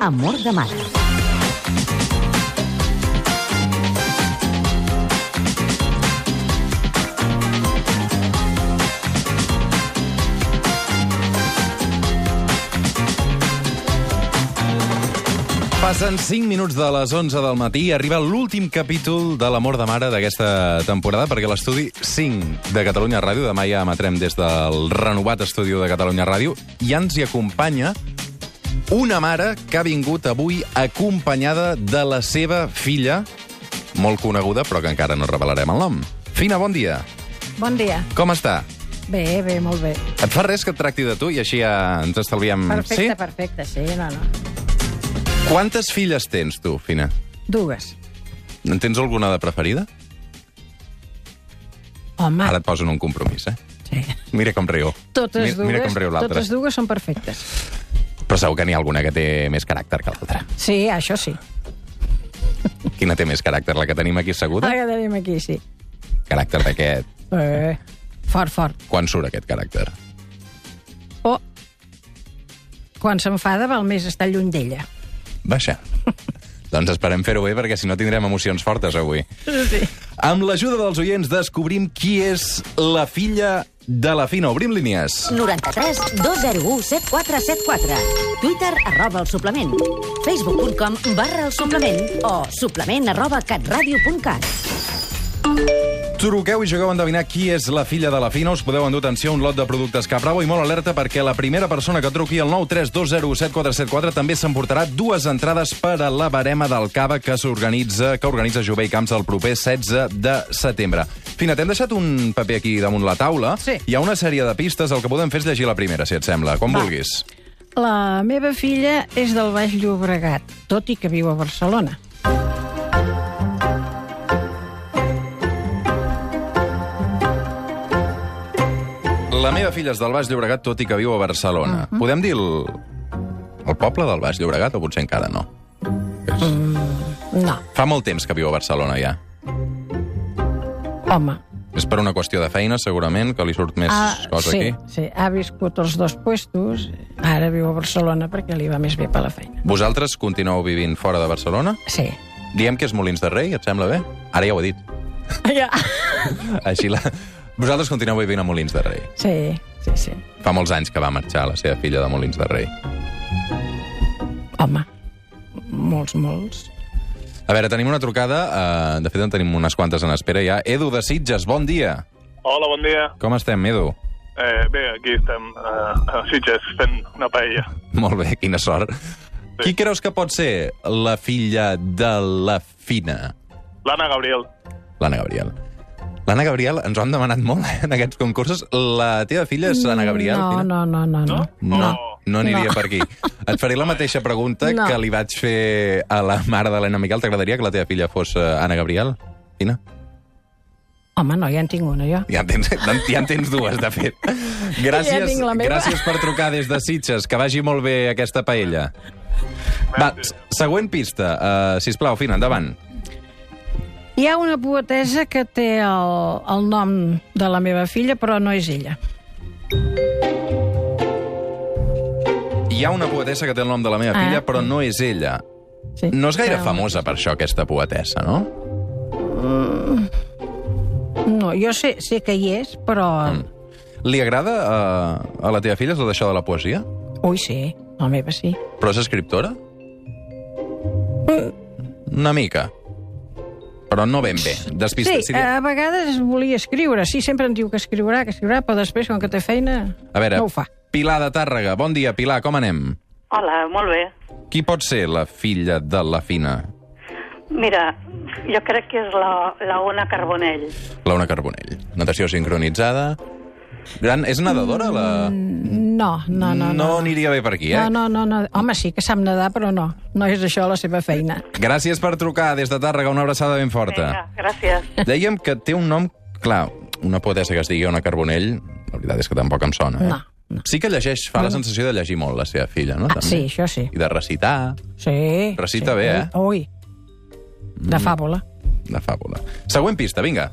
Amor de mare. Passen 5 minuts de les 11 del matí i arriba l'últim capítol de l'Amor de Mare d'aquesta temporada, perquè l'estudi 5 de Catalunya Ràdio, demà ja emetrem des del renovat estudi de Catalunya Ràdio, i ens hi acompanya una mare que ha vingut avui acompanyada de la seva filla, molt coneguda, però que encara no revelarem el nom. Fina, bon dia. Bon dia. Com està? Bé, bé, molt bé. Et fa res que et tracti de tu i així ja ens estalviem... Perfecte, Mm, sí? perfecte, sí, no, no. Quantes filles tens, tu, Fina? Dues. En tens alguna de preferida? Home, Ara et poso en un compromís, eh? sí. Mira com riu. Totes mira, dues, mira com riu l'altre. totes dues són perfectes. Però segur que n'hi ha alguna que té més caràcter que l'altra. Sí, això sí. Quina té més caràcter? La que tenim aquí asseguda? Ara que tenim aquí, sí. Caràcter d'aquest. Eh, fort, fort. Quan surt aquest caràcter? O quan s'enfada val més estar lluny d'ella. Baixa. doncs esperem fer-ho bé, perquè si no tindrem emocions fortes avui. Sí. Amb l'ajuda dels oients descobrim qui és la filla de la Fina. Obrim línies. 93 201 7474. Twitter arroba el suplement. Facebook.com barra el suplement o suplement arroba catradio.cat. Truqueu i jugueu a endevinar qui és la filla de la Fina. Us podeu endur, atenció, un lot de productes Capravo i molt alerta perquè la primera persona que truqui al 932017474 també s'emportarà dues entrades per a la barema del Cava que s'organitza que organitza Jové i Camps el proper 16 de setembre. Fina, t'hem deixat un paper aquí damunt la taula. Sí. Hi ha una sèrie de pistes. El que podem fer és llegir la primera, si et sembla. Quan Va. vulguis. La meva filla és del Baix Llobregat, tot i que viu a Barcelona. La meva filla és del Baix Llobregat, tot i que viu a Mhm. Barcelona. Mm -hmm. Podem dir el... el poble del Baix Llobregat o potser encara no? No, Fa molt temps que viu a Barcelona, ja. home. ah, És per una qüestió de feina, segurament, que li surt més cosa sí, aquí. sí, ha viscut els dos puestos, ara viu a Barcelona perquè li va més bé per la feina. Vosaltres continueu vivint fora de Barcelona? Sí. Diem que és Molins de Rei, et sembla bé? Ara ja ho he dit. Ja. Així la... Vosaltres continueu vivint a Molins de Rei. Sí, sí, sí. Fa molts anys que va marxar la seva filla de Molins de Rei. Home, molts, molts. A veure, tenim una trucada. Eh, de fet, en tenim unes quantes en espera ja. Edu de Sitges, bon dia. Hola, bon dia. Com estem, Edu? Eh, bé, aquí estem eh, a Sitges fent una paella. Molt bé, quina sort. Qui creus que pot ser la filla de la Fina? L'Anna Gabriel. L'Anna Gabriel. L'Anna Gabriel, ens ho han demanat molt eh, en aquests concursos. La teva filla és Anna Gabriel? No, Pina? no, no, no, no. No, Oh. no aniria No. per aquí. Et faré la mateixa pregunta No. que li vaig fer a la mare d'Helena Miquel. T'agradaria que la teva filla fos eh, Anna Gabriel? Quina? Home, no, ja en tinc una, jo. Ja en tens, ja en tens dues, de fet. Gràcies, tinc la meva. gràcies per trucar des de Sitges. Que vagi molt bé aquesta paella. Va, s- següent pista. Uh, sisplau, Fina, endavant. Hi ha una poetesa que té el, el nom de la meva filla, però no és ella. Hi ha una poetessa que té el nom de la meva Ah. filla, però no és ella. Sí. No és gaire Però- famosa per això, aquesta poetessa, no? No, jo sé, sé que hi és, però... Mm. Li agrada uh, a la teva filla tot això de la poesia? Ui, sí, la meva sí. Però és escriptora? Mm. Una mica. Però no ben bé. Despista. Sí, eh, si li- a vegades volia escriure. Sí, sempre em diu que escriurà, que escriurà, però després, quan que té feina, a veure, no ho fa. Pilar de Tàrrega. Bon dia, Pilar, com anem? Hola, molt bé. Qui pot ser la filla de la Fina? Mira, jo crec que és la, la Ona Carbonell. Laura Carbonell. Natació sincronitzada. Gran... És nedadora, No, la... Mm, no, no. no No, aniria bé per aquí, eh? no, no, no, no. Home, sí que sap nedar, però no. No és això la seva feina. Gràcies per trucar des de Tàrrega. Una abraçada ben forta. Vinga, gràcies. Dèiem que té un nom... Clar, una poetessa que es digui Ona Carbonell, la veritat és que tampoc em sona. Eh? No, no. Sí que llegeix, fa la sensació de llegir molt la seva filla, no? Ah, sí, això sí. I de recitar, Sí. Recita sí, bé, eh? Mm. Ui, de fàbula. de fàbula. Següent pista, vinga.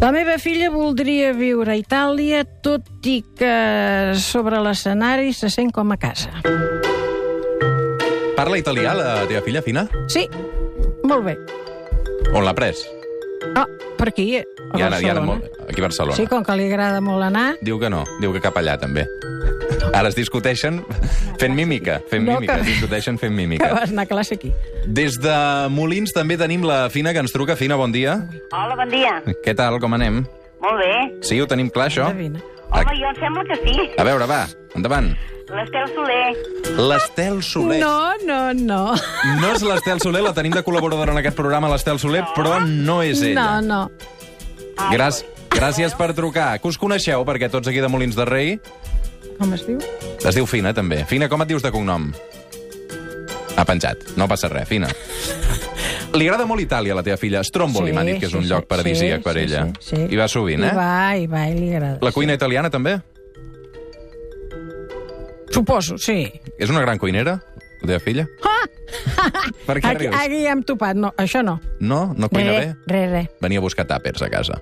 La meva filla voldria viure a Itàlia, tot i que sobre l'escenari se sent com a casa. Parla italià, la teva filla, Fina? Sí, molt bé. On l'ha pres? Ah, per aquí, a I ara, i ara, Barcelona. mo- aquí a Barcelona. Sí, com que li agrada molt anar... Diu que no, diu que cap allà també. Ara es discuteixen fent mímica, fent No, mímica, que- discuteixen fent Que mímica. vas anar a classe aquí. Des de Molins també tenim la Fina, que ens truca. Fina, bon dia. Hola, bon dia. Què tal, com anem? Molt bé. Sí, ho tenim clar, això? Endevina. Home, jo em sembla que sí. A veure, va, endavant. L'Estel Soler. L'Estel Soler. No, no, no. No és l'Estel Soler, la tenim de col·laboradora en aquest programa, l'Estel Soler, però no és No, ella. no. Gràcies, gràcies per trucar. Que us coneixeu, perquè tots aquí de Molins de Rei Com es diu? es diu Fina, també. Fina, com et dius de cognom? Ha penjat. No passa res, Fina. Li agrada molt Itàlia, la teva filla. Stromboli, Sí, m'ha dit que és sí, un sí, lloc paradisíac sí, per sí, ella. sí, sí. Hi va sovint, Hi eh? va, hi va, i li agrada. La cuina italiana, també? Suposo, sí. És una gran cuinera, la teva filla? Per què Ah! Aquí, Eh. rius? aquí hem topat, no, això no. No? No cuina bé? Re, re, re. Venia a buscar tàpers a casa.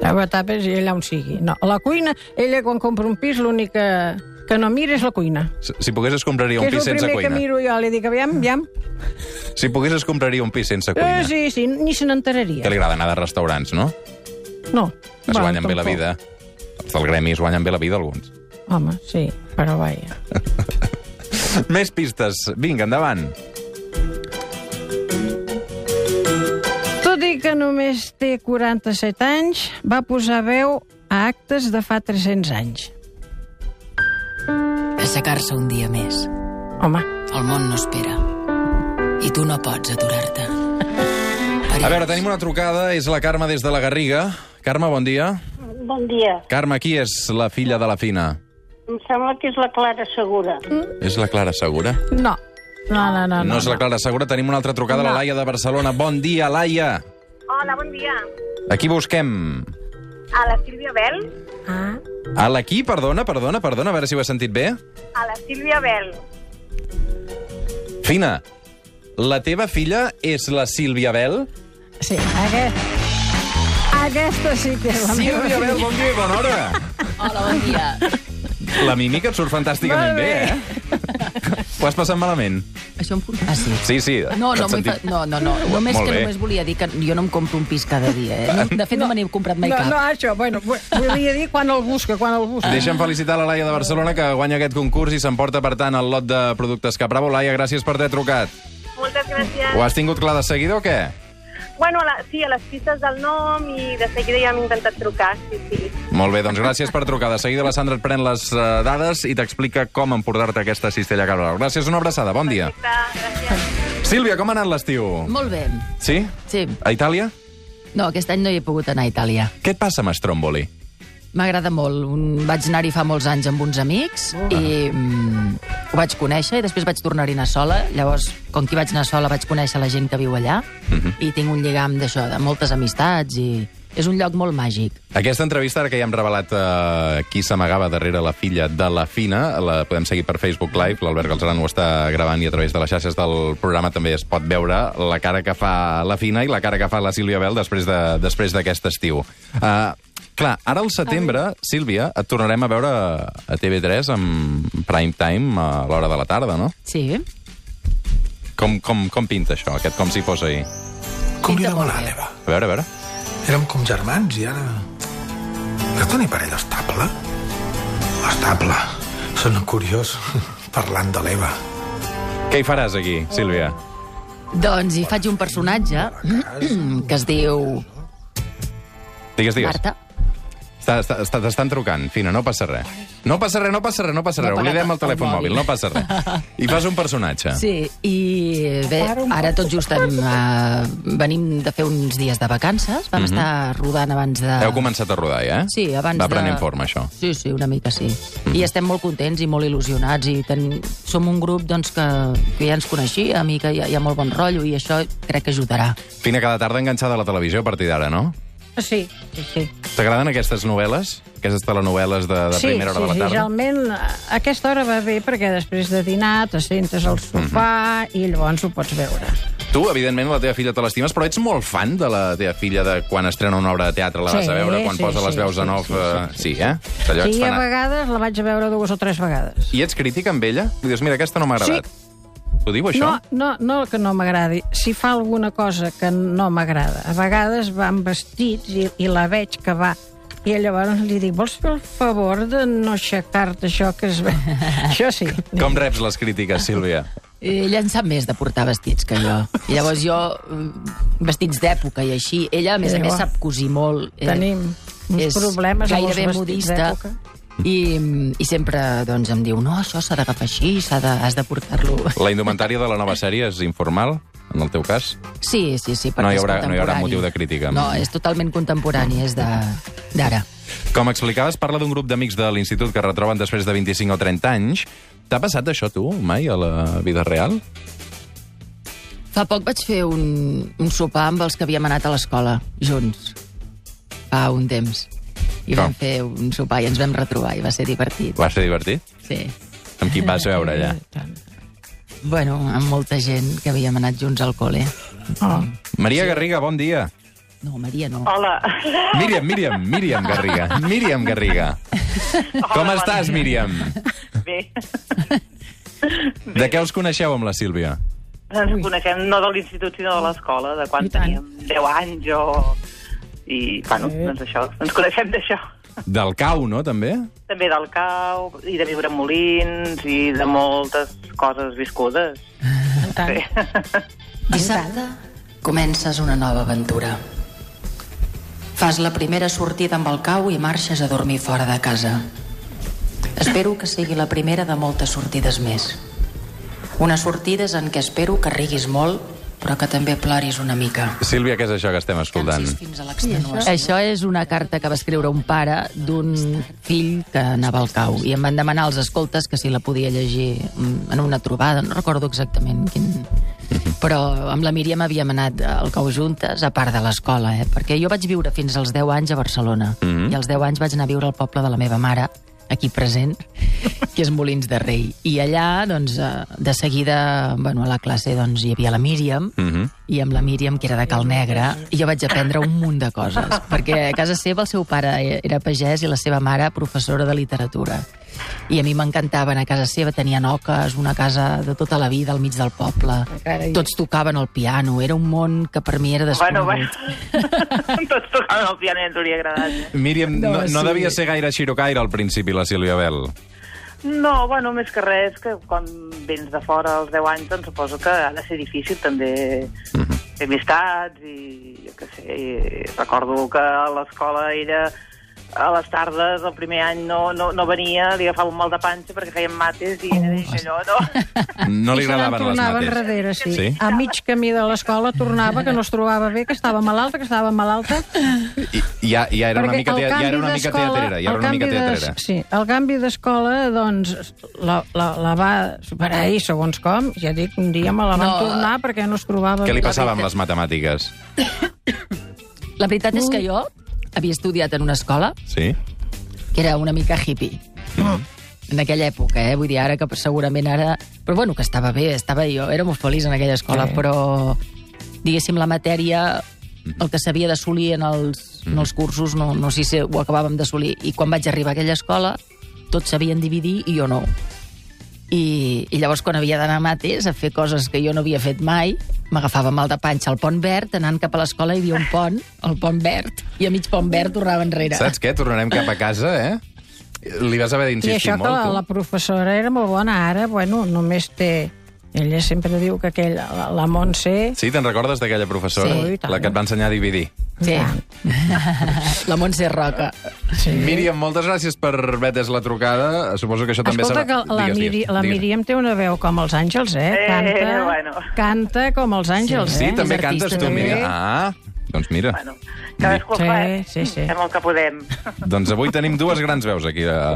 Treu tapes i allà on sigui. No, a la cuina, ella quan compra un pis, l'únic que, que no mira és la cuina. Si si pogués, es compraria que un és pis el sense primer que cuina. miro jo. Li dic, aviam, aviam. Si pogués, es compraria un pis sense cuina. Eh, sí, sí, ni se Que n'enteraria. li agrada anar de restaurants, no? No. Es Bueno, guanyen bé la tampoc. vida. Els del gremi es guanyen bé la vida, alguns. Home, sí, però vaja. Més pistes. Vinga, endavant. Tot i que només té 47 anys, va posar veu a actes de fa 300 anys. Aixecar-se un dia més. Home, El món no espera. I tu no pots aturar-te. A veure, tenim una trucada. És la Carme des de la Garriga. Carme, bon dia. Bon dia. Carme, qui és la filla de la Fina? Em sembla que és la Clara Segura. És la Clara Segura? no. No, no, no. No, és la Clara Segura. Tenim una altra trucada a la Laia de Barcelona. Bon dia, Laia. Hola, bon dia. Aquí busquem... A la Sílvia Bell? Ah, A l'equí, perdona, perdona, perdona, a veure si ho has sentit bé. A la Sílvia Bell. Fina, la teva filla és la Sílvia Bell? sí, aquest... Aquesta sí que és la meva. Sílvia Bel, bon dia i bona hora. Hola, bon dia. La mímica et surt fantàsticament bé, eh? Ho has passat malament? Això em porta... Ah, sí. Sí, sí. No, no, et m'he sentim- fa- no, no, no. Només Molt que bé. només volia dir que jo no em compro un pis cada dia, eh? No, De fet, no, me n'he comprat mai No, cap. no, això, bueno, vu- volia dir quan el busca, quan el busca. Deixa'm felicitar la Laia de Barcelona, que guanya aquest concurs i s'emporta, per tant, el lot de productes Cap Bravo. Laia, gràcies per t'haver trucat. Moltes gràcies. Ho has tingut clar de seguida o què? Bueno, a la, sí, a les pistes del nom i de seguida ja hem intentat trucar, sí, sí. Molt bé, doncs gràcies per trucar. De seguida la Sandra et pren les eh, dades i t'explica com emportar-te aquesta cistella Cap Bravo. Gràcies, una abraçada, bon dia. Perfecte, gràcies. Sílvia, com ha anat l'estiu? Molt bé. Sí? Sí. A Itàlia? No, aquest any no hi he pogut anar a Itàlia. Què et passa amb Stromboli? M'agrada molt. Un... Vaig anar-hi fa molts anys amb uns amics i mm, ho vaig conèixer i després vaig tornar-hi a anar sola. Llavors, com que hi vaig anar sola, vaig conèixer la gent que viu allà Mhm. i tinc un lligam d'això, de moltes amistats i és un lloc molt màgic. Aquesta entrevista, ara que ja hem revelat eh, qui s'amagava darrere la filla de la Fina, la podem seguir per Facebook Live, l'Albert Galzeran ho està gravant i a través de les xarxes del programa també es pot veure la cara que fa la Fina i la cara que fa la Sílvia Bel després de- després d'aquest de, estiu. Uh, clar, ara al setembre, Sílvia, et tornarem a veure a TV3 amb prime time a l'hora de la tarda, no? Sí. Com, com, com pinta això, aquest com si fos ahir? Com li Pinta molt demana bé. l'Eva? A veure, a veure. Érem com germans i ara... Aquesta ni parella estable? Estable. Sona curiós parlant de l'Eva. Què hi faràs aquí, Sílvia? Doncs hi faig un personatge que es diu Digues, digues. Marta. Està, està, està, t'estan trucant, Fina, no passa res. No passa res, no passa res, no passa res. No ha pagat Oblidem el el telèfon mòbil. mòbil. no passa res. I fas un personatge. Sí, i bé, ara tot just hem, eh, venim de fer uns dies de vacances. Vam estar rodant abans de... Mhm. Heu començat a rodar, ja, eh? Sí, abans Va prenent de... forma, això. Sí, sí, una mica sí. I estem molt contents i molt il·lusionats i ten... som un grup doncs, que, que ja ens coneixíem i que hi ha, hi ha molt bon rotllo i això crec que ajudarà. Fina, cada tarda enganxada a la televisió a partir d'ara, no? Sí, sí, sí. T'agraden aquestes novel·les? Aquestes telenovel·les de, de sí, primera hora sí, de la sí, tarda? realment a aquesta hora va bé perquè després de dinar te sentes al sofà Mhm. i llavors ho pots veure. Tu, evidentment, la teva filla te l'estimes, però ets molt fan de la teva filla de quan estrena una obra de teatre, la vas Sí, a veure, quan sí, posa les sí, veus sí, en off... sí, eh, sí, Sí, eh? Allò ets sí, a fanat. vegades la vaig a veure dues o tres vegades. I ets crític amb ella? Li dius, mira, aquesta no m'ha agradat. Sí, Ho diu, això? No, no, no que no m'agradi. Si fa alguna cosa que no m'agrada. A vegades va amb vestits i, i la veig que va i llavors li dic, vols fer el favor de no aixecar-te això que es ve? això sí. Com reps les crítiques, Sílvia? Eh, Ella en sap més de portar vestits que jo. I llavors jo, mm, vestits d'època i així. Ella, a més a Ella més, va. sap cosir molt. Eh, Tenim uns és problemes amb els gairebé vestits modista. d'època. I, mm, I sempre doncs, em diu, no, això s'ha d'agafar així, s'ha de, has de portar-lo... La indumentària de la nova sèrie és informal, en el teu cas? Sí, sí, sí, perquè No hi haurà- és no hi haurà contemporani. motiu de crítica. No, és totalment contemporani, és de- d'ara. Com explicaves, parla d'un grup d'amics de l'institut que es retroben després de 25 o 30 anys. T'ha passat això, tu, mai, a la vida real? Fa poc vaig fer un, un sopar amb els que havíem anat a l'escola, junts, fa un temps. I Com? vam fer un sopar i ens vam retrobar i va ser divertit. Va ser divertit? Sí. Amb qui et vas veure allà? Bueno, amb molta gent que havíem anat junts al col·le. Maria Garriga, bon dia. No, Maria, no. Hola. Míriam, Míriam, Míriam Garriga. Míriam Garriga. Com estàs, Míriam? Bé, De què us coneixeu amb la Sílvia? ens coneixem no de l'institut sinó de l'escola, de I quan tant. teníem 10 anys o... I, bueno, doncs això, ens coneixem d'això. Del cau, no, també? També del cau, i de viure en molins, i de moltes coses viscudes. Tant. Dissabte comences una nova aventura. Fas la primera sortida amb el cau i marxes a dormir fora de casa. Espero que sigui la primera de moltes sortides més. Unes sortides en què espero que riguis molt, però que també ploris una mica. Sílvia, què és això que estem escoltant? Cansis fins a l'extenuació. Això és una carta que va escriure un pare d'un fill que anava al cau i em van demanar als escoltes que si la podia llegir mm, en una trobada, no recordo exactament quin... Però amb la Míriam havíem anat al cau juntes, a part de l'escola, eh? perquè jo vaig viure fins als 10 anys a Barcelona i als 10 anys vaig anar a viure al poble de la meva mare, aquí present, que és Molins de Rei. I allà, doncs, eh, de seguida, bueno, a la classe doncs, hi havia la Míriam, Mhm. i amb la Míriam, que era de Cal Negre, i jo vaig aprendre un munt de coses, perquè a casa seva el seu pare era pagès i la seva mare professora de literatura. I a mi m'encantaven, a casa seva tenien oques, una casa de tota la vida al mig del poble, Encara hi és. tots tocaven el piano, era un món que per mi era Bueno, desconegut. bueno, tots tocaven el piano i ens hauria agradat. eh? Míriam, no, No, no sí. devia ser gaire xirocaire al principi, la Sílvia Bell. No, bueno, més que res, que quan vens de fora als 10 anys, doncs suposo que ha de ser difícil també Mhm. fer amistats i, jo què sé, i recordo que a l'escola ella a les tardes, el primer any, no, no, no venia, li agafava un mal de panxa perquè feien mates i era d'això, allò, no? No li I se n'en agradaven les tornava mates. enrere, sí. Sí? sí. A mig camí de l'escola tornava, que no es trobava bé, que estava malalta, que estava malalta. I, ja, ja era una Perquè mica, el tea- ja canvi era una mica d'escola- teatrera. Ja el era una mica canvi de- teatrera. Sí, el canvi d'escola, doncs, la, la, la va superar ahir, segons com. Ja dic, un dia me la van No. tornar perquè no es trobava Què li bé. passava amb les matemàtiques? La veritat és Mm. que jo havia estudiat en una escola Sí? que era una mica hippie. En aquella època, eh? Vull dir, ara que segurament ara... Però bueno, que estava bé, estava jo, era molt feliç en aquella escola, Sí. però diguéssim, la matèria, el que s'havia d'assolir en, els, en els cursos, no, no sé si ho acabàvem d'assolir. I quan vaig arribar a aquella escola, tots sabien dividir i jo no. I, i llavors, quan havia d'anar a mates a fer coses que jo no havia fet mai, m'agafava mal de panxa al pont verd, anant cap a l'escola hi havia un pont, el pont verd, i a mig pont verd tornava enrere. Saps què? Tornarem cap a casa, eh? Li vas haver I d'insistir això que molt, la, tu. la professora era molt bona, ara, bueno, només té... Ella sempre diu que aquella, la, la Montse... Sí, te'n recordes d'aquella professora? Sí, i tant. la que et va ensenyar a dividir. Sí. La Montse Roca. Sí. Míriam, moltes gràcies per vetes la trucada. Suposo que això també Escolta, serà... que la, Digues, Miri, digues, la digues. Míriam té una veu com els àngels, eh? Eh, Canta, bueno. canta com els àngels, Sí, eh? també és cantes artista, tu, també. Míriam. Ah, doncs mira. Bueno, cadascú Sí, fa, sí, sí. eh? fem el que podem. Doncs avui tenim dues grans veus aquí a,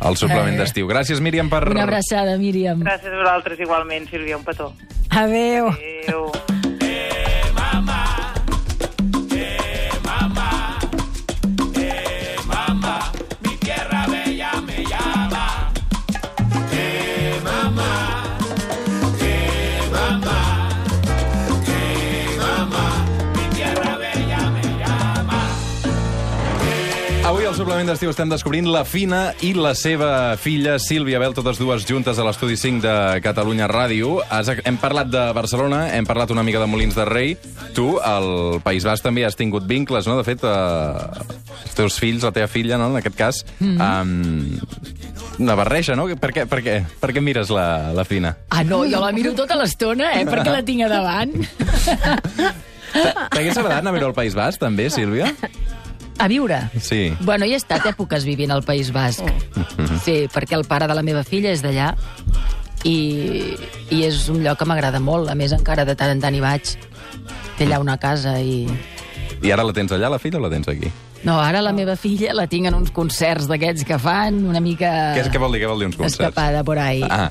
al Eh. suplement d'estiu. Gràcies, Míriam, per... Una abraçada, Míriam. Gràcies a vosaltres igualment, Sílvia, un petó. Adéu. Adéu. Avui al suplement suplement d'estiu estem descobrint la Fina i la seva filla, Sílvia Bel, totes dues juntes a l'Estudi 5 de Catalunya Ràdio. Has- Hem parlat de Barcelona, hem parlat una mica de Molins de Rei. Tu, al País Basc, també has tingut vincles, no? De fet, eh, els teus fills, la teva filla, no? en aquest cas, mm -hmm. um, una barreja, no? Per què, per què, per què mires la, la Fina? Ah, no, jo la miro tota l'estona, eh? Perquè la tinc a davant. T'hagués agradat anar a veure el País Basc, també, Sílvia? A viure. Sí. Bueno, hi he estat èpoques vivint al País Basc. Sí, perquè el pare de la meva filla és d'allà i, i és un lloc que m'agrada molt. A més, encara de tant en tant hi vaig. Té allà una casa i... I ara la tens allà, la filla, o la tens aquí? No, ara la meva filla la tinc en uns concerts d'aquests que fan, una mica... Què, què vol dir? Què vol dir uns concerts? Escapada por ahí. Ah,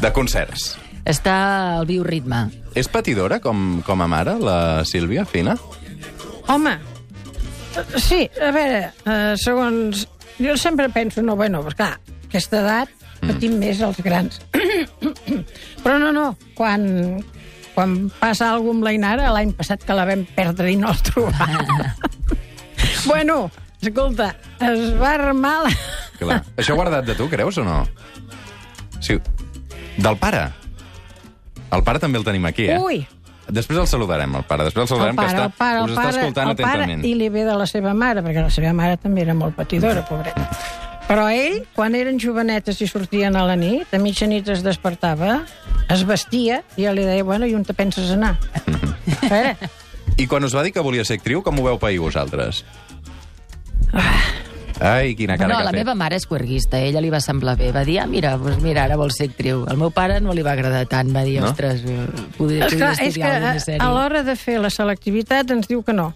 de concerts. Està al bioritme. És patidora com, com a mare, la Sílvia Fina? Home, eh, sí, a veure, eh, segons... Jo sempre penso, no, bueno, pues clar, aquesta edat patim més els grans. Però no, no, quan, quan passa alguna amb la Inara, l'any passat que la vam perdre i no el trobàvem. bueno, escolta, es va armar la... Clar. Això guardat de tu, creus o no? Sí. Del pare. El pare també el tenim aquí, eh? Ui, Després el saludarem, el pare. Després el el saludarem, pare, que el està, pare, el us està pare, escoltant el pare atentament. i li ve de la seva mare, perquè la seva mare també era molt patidora, pobreta. Però ell, quan eren jovenetes i sortien a la nit, a mitjanit es despertava, es vestia i ja li deia, bueno, i on te penses anar? A veure, I... quan us va dir que volia ser actriu, com ho veu pair vosaltres? Ah. Ai, quina cara no, que la ha fet. meva mare és cuerguista, a ella li va semblar bé. Va dir, ah, mira, doncs mira, ara vol ser actriu. Al meu pare no li va agradar tant, va dir, No? ostres, eh, podria, podria Esclar, és que eh, estudiar a, alguna a sèrie. l'hora de fer la selectivitat ens diu que no.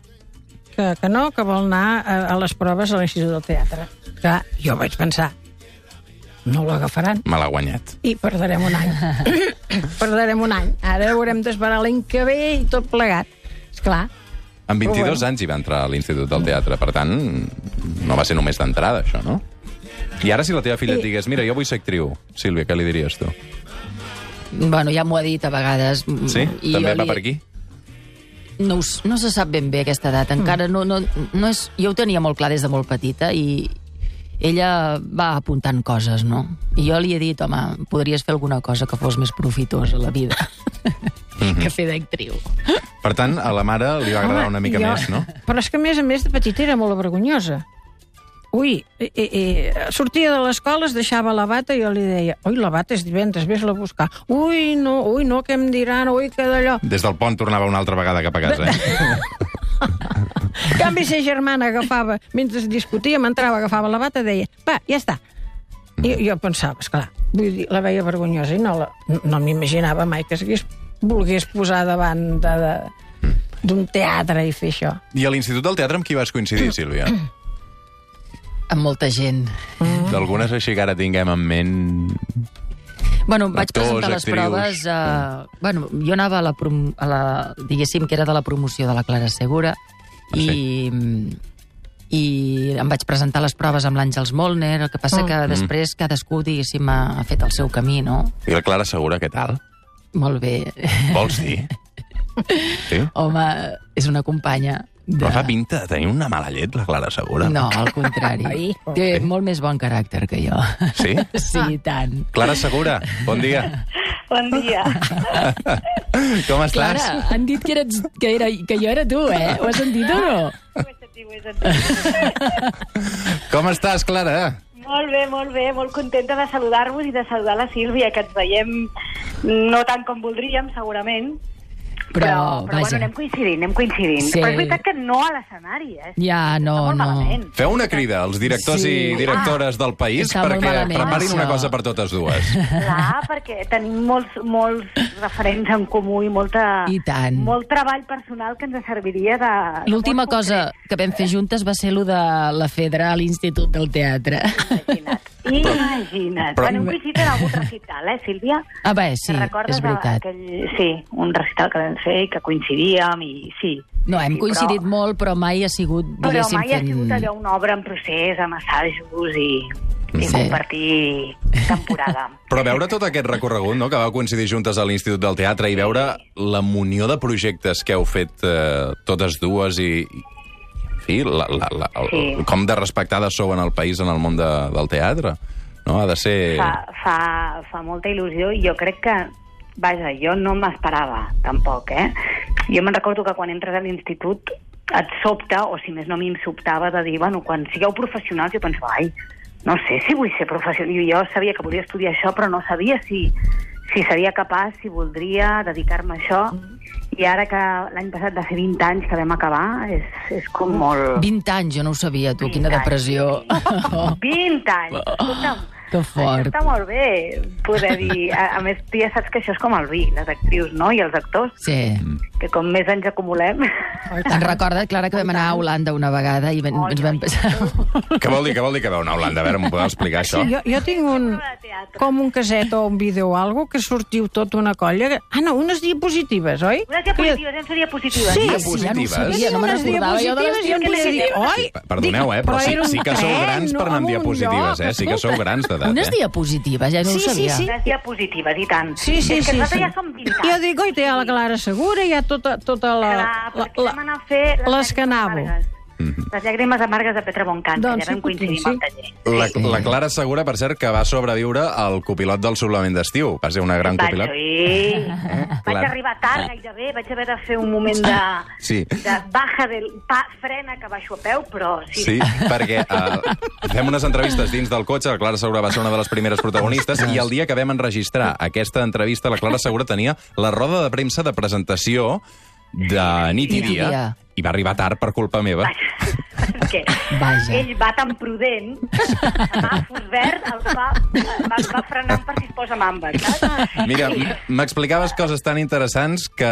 Que, que no, que vol anar a, a les proves a l'Institut del Teatre. Clar, jo vaig pensar, no l'agafaran. Me l'ha guanyat. i perdrem un any. perdrem un any. Ara haurem d'esperar l'any que ve i tot plegat. És clar. Amb 22 Però bueno. anys hi va entrar a l'Institut del Teatre, per tant, no va ser només d'entrada, això, no? I ara si la teva Eh. filla et I- digués, mira, jo vull ser actriu, Sílvia, què li diries tu? Mm. Bueno, ja m'ho ha dit a vegades. mm, Sí? i També jo va li- per aquí? No, us, no se sap ben bé aquesta edat, Mm. encara no, no, no és... Jo ho tenia molt clar des de molt petita i ella va apuntant coses, no? I jo li he dit, home, podries fer alguna cosa que fos més profitosa a la vida que fer d'actriu. Per tant, a la mare li va Mhm. agradar una mica més, no? Però és que, a més a més, de petita era molt vergonyosa. Ui, i, i, i, sortia de l'escola, es deixava la bata i jo li deia, ui, la bata és divendres, vés-la a buscar. Ui, no, ui, no, què em diran, ui, que d'allò. Des del pont tornava una altra vegada cap a casa, eh? En canvi, sa germana agafava, mentre discutíem, entrava, agafava la bata i deia, va, ja està. I jo pensava, esclar, vull dir, la veia vergonyosa i no, la- no m'imaginava mai que s'hagués volgués posar davant de- de- d'un teatre i fer això. I a l'Institut del Teatre amb qui vas coincidir, Sílvia? Amb molta gent. Mm. D'algunes així que ara tinguem en ment... Bueno, vaig Actors, presentar les actrius. Mm. proves... A... Bueno, jo anava a la, prom... a la... Diguéssim que era de la promoció de la Clara Segura Ah, i... I em vaig presentar les proves amb l'Àngels Molner, el que passa que Mm. després cadascú, diguéssim, ha, ha fet el seu camí, no? I la Clara Segura, què tal? Molt bé. Vols dir? Sí? Home, és una companya. De... Però fa pinta de tenir una mala llet, la Clara Segura. No, al contrari. Ai. Té molt més bon caràcter que jo. Eh? Sí? Sí, i tant. Clara Segura, bon dia. Bon dia. Com estàs? Clara, han dit que, eres, que, era, que jo era tu, eh? Ho has sentit o no? Com estàs, Clara? Molt bé, molt bé, molt contenta de saludar-vos i de saludar la Sílvia, que ens veiem no tant com voldríem, segurament. Però, però bueno, vaja. anem coincidint, anem coincidint. Sí. Però és veritat que no a l'escenari, eh? Ja, no, Està molt no. malament. Feu una crida als directors Sí. Ah, i directores del país Està molt perquè malament, preparin una això. cosa per totes dues. Clar, perquè tenim molts, molts referents en comú i molta, I tant. molt treball personal que ens serviria de... de L'última molt cosa que vam fer juntes va ser lo de la Fedra a l'Institut del Teatre. Imagina't. Imagina't. però- Però... Bueno, coincidit en algun recital, eh, Sílvia? Ah, bé, sí, Te'n recordes és veritat. Aquell, sí, un recital que vam fer i que coincidíem i sí. No, hem sí, coincidit però... molt, però mai ha sigut, Però diguéssim, mai ha sigut allò una obra en procés, amb assajos i, i Sí. compartir temporada. Però veure tot aquest recorregut, no?, que vau coincidir juntes a l'Institut del Teatre i veure la munió de projectes que heu fet eh, totes dues i, fi, la, la, la, el, Sí. com de respectada sou en el país, en el món de, del teatre. No? Ha de ser... Fa, Ah. fa, fa molta il·lusió i jo crec que, vaja, jo no m'esperava tampoc, eh? Jo me'n recordo que quan entres a l'institut et sobta, o si més no a mi em sobtava, de dir, bueno, quan sigueu professionals, jo pensava, ai, no sé si vull ser professional. Jo sabia que volia estudiar això, però no sabia si, si seria capaç, si voldria dedicar-me a això. I ara que l'any passat va ser 20 anys que vam acabar, és, és com molt... 20 anys, jo no ho sabia, tu, quina depressió. Oh, 20 anys! Escolta'm, Que Això Ah, fort. està molt bé poder dir... A, a més, tu ja saps que això és com el vi, les actrius, no?, i els actors, Sí. que com més anys acumulem... Te'n recorda, Clara, que vam anar a Holanda una vegada i ben, ens vam passar... Què vol dir, què vol dir que veu una Holanda? A veure, m'ho podeu explicar, això? Sí, jo, jo tinc un, com un caset o un vídeo o algo que sortiu tota una colla... que- Ah, no, unes diapositives, oi? Unes diapositives, hem fet diapositives. Sí, Diapositives? sí, ja ho sabia, no me Unes n'acordava jo de les diapositives, jo què sé diapositives. dir? Oi? Pa- Perdoneu, eh, però, Però sí, era un sí que sou tren, grans per anar no, amb en un diapositives, lloc, eh? Sí que sou escolta. grans d'edat, Unes eh? diapositives, ja no Sí, ho sí, sabia. sí. Les diapositives, i tant. Sí, sí, és que sí. nosaltres sí. ja som 20 anys. Jo dic, oi, té la Clara Segura, hi ha tota, tota la... Clar, la, perquè vam anar a fer les les que llàgrimes anàveu. amargues. Les llàgrimes amargues de Petra Boncan, Doncs que ja sí, vam coincidir potser amb el taller. La, la Clara Segura, per cert, que va sobreviure al copilot del suplement d'estiu. Va ser una gran Vaig, copilot. sí. Vaig Clar. arribar tard gairebé, vaig haver de fer un moment de, Sí. de baja del pa, frena que baixo a peu, però sí. Sí, perquè uh, fem unes entrevistes dins del cotxe, la Clara Segura va ser una de les primeres protagonistes, i el dia que vam enregistrar aquesta entrevista, la Clara Segura tenia la roda de premsa de presentació de nit i dia, Nit i va arribar tard per culpa meva. Perquè Vaja. ell va tan prudent, semàfor verd, el va, va, va frenant per si es posa mamba, saps? Mira, I- m- m'explicaves coses tan interessants que,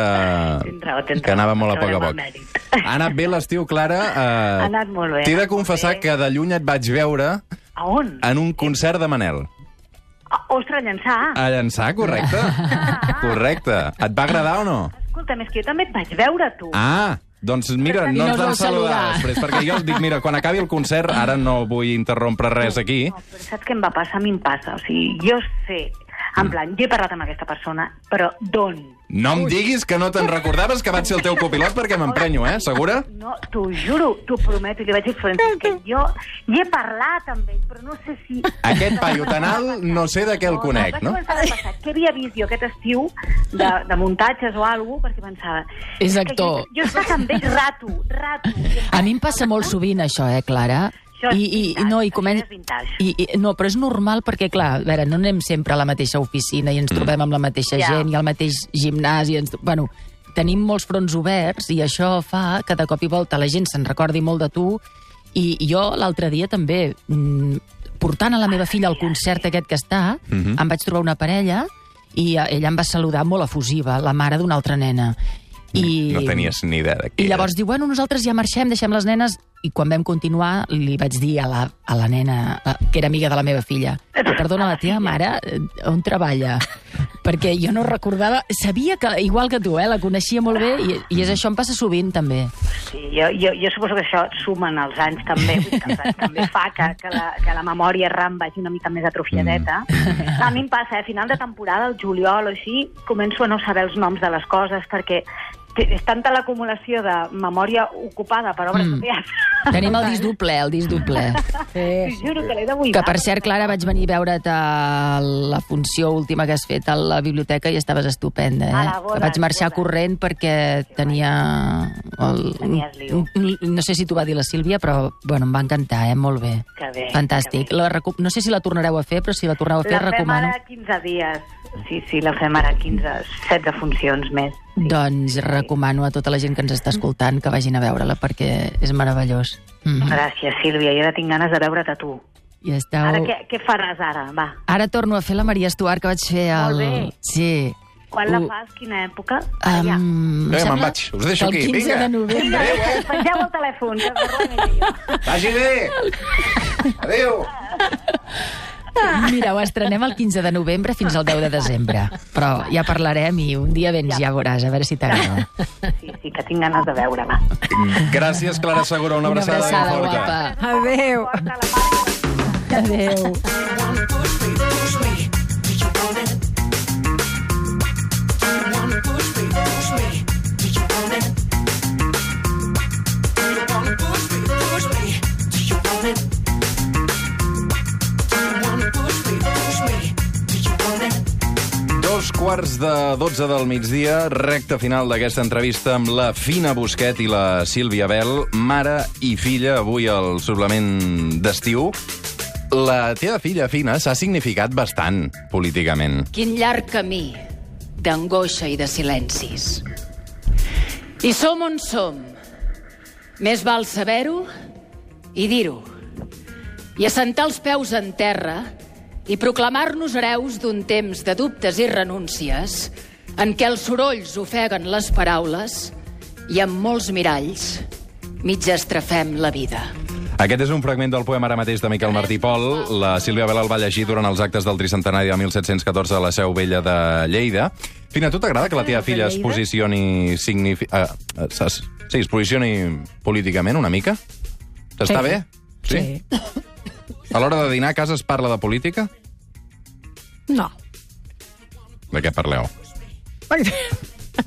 Tindrà, tindrà. que anava molt a poc a Veurem poc. el mèrit. Ha anat bé l'estiu, Clara. Eh, Ha anat molt bé, T'he ha de anat molt confessar bé. que de lluny et vaig veure A on? en un concert de Manel. O- Ostres, llançar. A llançar, correcte? Correcte. Et va agradar o no? Escolta, més que jo també et vaig veure, tu. Ah, doncs mira, I no no ens us vam vau saludar saludar. després, perquè jo dic, mira, quan acabi el concert, ara no vull interrompre res aquí. Però saps què em va passar? A mi em passa. O sigui, jo sé, Mm. en plan, jo he parlat amb aquesta persona, però d'on? No em diguis que no te'n recordaves que vaig ser el teu copilot perquè m'emprenyo, eh? Segura? No, t'ho juro, t'ho prometo, i li vaig dir, Francesc, que jo hi he parlat amb ell, però no sé si... Aquest paio tan alt, no sé de què el conec, vaig no? començar a pensar, què havia vist jo aquest estiu de, de muntatges o alguna cosa, perquè pensava... És que actor. Jo, jo he estat amb ell rato, rato. A mi em passa molt sovint això, eh, Clara? Això és I, i, i no, i comença... I, i, no, però és normal perquè, clar, a veure, no anem sempre a la mateixa oficina i ens trobem amb la mateixa Ja. gent i al mateix gimnàs i ens... Bueno, tenim molts fronts oberts i això fa que de cop i volta la gent se'n recordi molt de tu i jo l'altre dia també, mm, portant a la Ah, meva filla al concert aquest que està, Mhm. em vaig trobar una parella i eh, ella em va saludar molt efusiva, la mare d'una altra nena. I... No tenies ni idea de I qui era. llavors diu, bueno, nosaltres ja marxem, deixem les nenes... I quan vam continuar, li vaig dir a la, a la nena, eh, que era amiga de la meva filla, perdona, la teva mare eh, on treballa? Perquè jo no recordava... Sabia que, igual que tu, eh, la coneixia molt bé, i, i és això em passa sovint, també. Sí, jo, jo, jo suposo que això sumen els anys també, vull dir que els anys també fa que, que, la, que la memòria RAM vagi una mica més atrofiadeta. Mm. A mi em passa, eh? a final de temporada, al juliol o així, començo a no saber els noms de les coses, perquè té- és tanta l'acumulació de memòria ocupada per obres Mm. mm. de teatre. Tenim el disc duple, el disc duple. T'ho juro que l'he Que, d'oblidar. per cert, Clara, vaig venir a veure't a la funció última que has fet a la biblioteca i estaves estupenda, eh? A la boda, vaig marxar corrent perquè tenia... El... No- No sé si t'ho va dir la Sílvia, però bueno, em va encantar, eh? Molt bé. Que bé, Fantàstic. La recu... No sé si la tornareu a fer, però si la torneu a fer, La fem recomano. ara 15 dies. Sí, sí, la fem ara 15, 16 funcions més. Doncs recomano a tota la gent que ens està escoltant que vagin a veure-la perquè és meravellós. Mm. Gràcies, Sílvia. Jo ara tinc ganes de veure't a tu. I esteu... Ara què, què faràs ara? Va. Oh. Ara torno a fer la Maria Estuart que vaig fer al... bé. Sí. Quan la Ho- fas? Quina època? Allà. Um, Vinga, me'n vaig. Us deixo aquí. El 15 Vinga. de novembre. Pengeu el telèfon. que parlem ell i jo. eh. Vagi bé! Adéu! Mira, ho estrenem el 15 de novembre fins al 10 de desembre. Però ja parlarem i un dia vens, ja veuràs, a veure si t'agrada. Sí, sí, que tinc ganes de veure-la. Gràcies, Clara Segura. Una abraçada, ben forta. Adéu. Adéu. Push me, do you wanna push me? Do you wanna push me? Dos quarts de 12 del migdia, recta final d'aquesta entrevista amb la Fina Busquet i la Sílvia Bel, mare i filla, avui al suplement d'estiu. La teva filla, Fina, s'ha significat bastant políticament. Quin llarg camí d'angoixa i de silencis. I som on som. Més val saber-ho i dir-ho. I assentar els peus en terra i proclamar-nos hereus d'un temps de dubtes i renúncies en què els sorolls ofeguen les paraules i amb molts miralls mig estrafem la vida. Aquest és un fragment del poema ara mateix de Miquel Martí Pol. La Sílvia Vela el va llegir durant els actes del tricentenari de 1714 a la Seu Vella de Lleida. Fina, a tu t'agrada que la teva filla es posicioni... Signifi... Uh, sí, es posicioni políticament una mica? Està Sí. bé? A l'hora de dinar a casa es parla de política? No. De què parleu?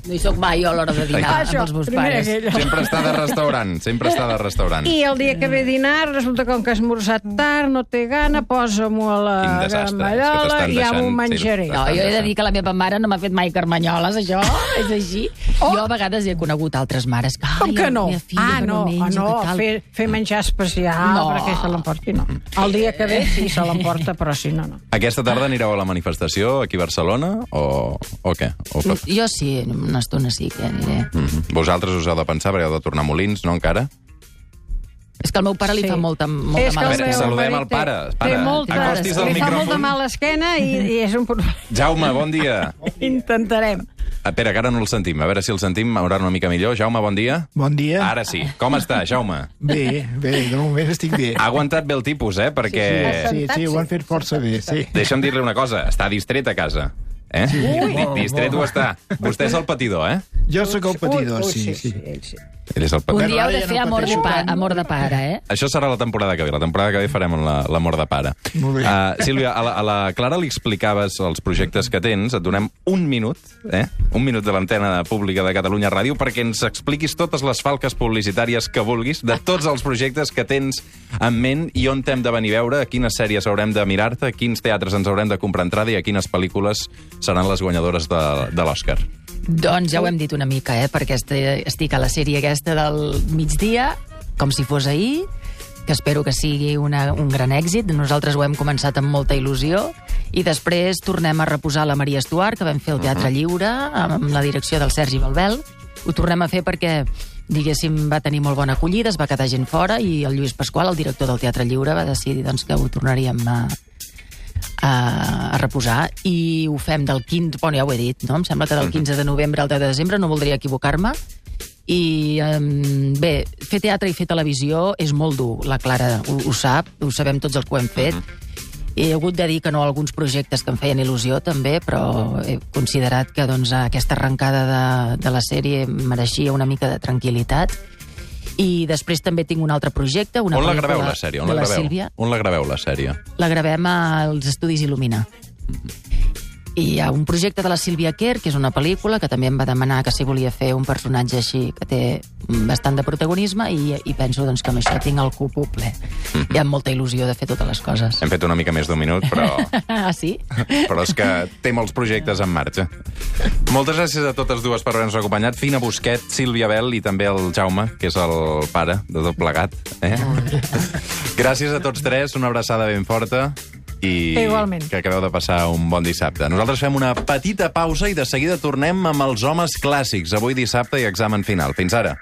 No hi soc mai jo a l'hora de dinar Això, amb els meus primer pares. aquella. Sempre està de restaurant, sempre està de restaurant. I el dia que ve a dinar, resulta que com que has esmorzat tard, no té gana, posa-m'ho a la Quin desastre, és que gamallola t'estan i ja m'ho deixant, menjaré. sí, No, jo he de dir que la meva mare no m'ha fet mai carmanyoles, això és així. Oh. Jo a vegades he conegut altres mares que... Com "Ai, que la no? meva Filla, ah, que no, no, ah, menja, no, que tal. fer, fer menjar especial No. perquè se l'emporti, no. El dia que ve sí, se l'emporta, però si no, no. Aquesta tarda anireu a la manifestació aquí a Barcelona o, o què? O, Mm, Jo sí, una estona sí que aniré. mm -hmm. Vosaltres us heu de pensar perquè heu de tornar a Molins, no encara? És que al meu pare li Sí. fa molta, molta És que mala el meu esquena. Saludem marit el té- pare, té pare, molta- acostis al Li fa micròfon. molta mala esquena i, i és un problema. Jaume, bon dia. Intentarem. Ah, Espera, que ara no el sentim. A veure si el sentim ara una mica millor. Jaume, bon dia. Bon dia. Ara sí. Com està, Jaume? Bé, bé, de moment estic bé. Ha aguantat bé el tipus, eh? Perquè... Sí, sí, ho han fet força bé, sí. Deixa'm dir-li una cosa. Està distret a casa. Eh? Sí, Di- molt, distret ho molt. està. Vostè és el patidor, eh? Jo sóc el Ui, patidor, ui, sí, sí. Ell és el Un patidor. dia heu de fer amor de, pa, amor de pare, eh? Això serà la temporada que ve. La temporada que ve farem la- l'amor de pare. Molt bé. Uh, Sílvia, a la, a la Clara li explicaves els projectes que tens. Et donem un minut, eh? un minut de l'antena pública de Catalunya Ràdio perquè ens expliquis totes les falques publicitàries que vulguis de tots els projectes que tens en ment i on t'hem de venir a veure, a quines sèries haurem de mirar-te, a quins teatres ens haurem de comprar entrada i a quines pel·lícules seran les guanyadores de, de l'Oscar. Doncs ja ho hem dit una mica, eh? Perquè este- estic a la sèrie aquesta del migdia, com si fos ahir, que espero que sigui una, un gran èxit. Nosaltres ho hem començat amb molta il·lusió. I després tornem a reposar la Maria Estuart, que vam fer el Teatre Lliure, amb la direcció del Sergi Balbel. Ho tornem a fer perquè diguéssim, va tenir molt bona acollida, es va quedar gent fora i el Lluís Pasqual, el director del Teatre Lliure, va decidir doncs, que ho tornaríem a, a, a reposar i ho fem del 15... Bueno, ja ho he dit, no? Em sembla que Mhm. del 15 de novembre al 10 de desembre, no voldria equivocar-me. I, um, bé, fer teatre i fer televisió és molt dur. La Clara ho, ho sap, ho sabem tots els que ho hem Mhm. fet. He hagut de dir que no a alguns projectes que em feien il·lusió, també, però he considerat que doncs, aquesta arrencada de, de la sèrie mereixia una mica de tranquil·litat. I després també tinc un altre projecte. Una On la pel·lícula graveu, la sèrie? On de la la graveu? Sílvia. On la graveu, la sèrie? La gravem als Estudis Il·lumina. I hi ha un projecte de la Sílvia Kerr, que és una pel·lícula, que també em va demanar que si volia fer un personatge així que té bastant de protagonisme i, i penso doncs, que amb això tinc el cupo ple. Hi ha molta il·lusió de fer totes les coses. Hem fet una mica més d'un minut, però... Ah, sí? però és que té molts projectes en marxa. Moltes gràcies a totes dues per haver-nos acompanyat. Fina Busquet, Sílvia Bel i també el Jaume, que és el pare de tot plegat. Eh? gràcies a tots tres, una abraçada ben forta i Igualment. que acabeu de passar un bon dissabte. Nosaltres fem una petita pausa i de seguida tornem amb els homes clàssics. Avui dissabte i examen final. Fins ara.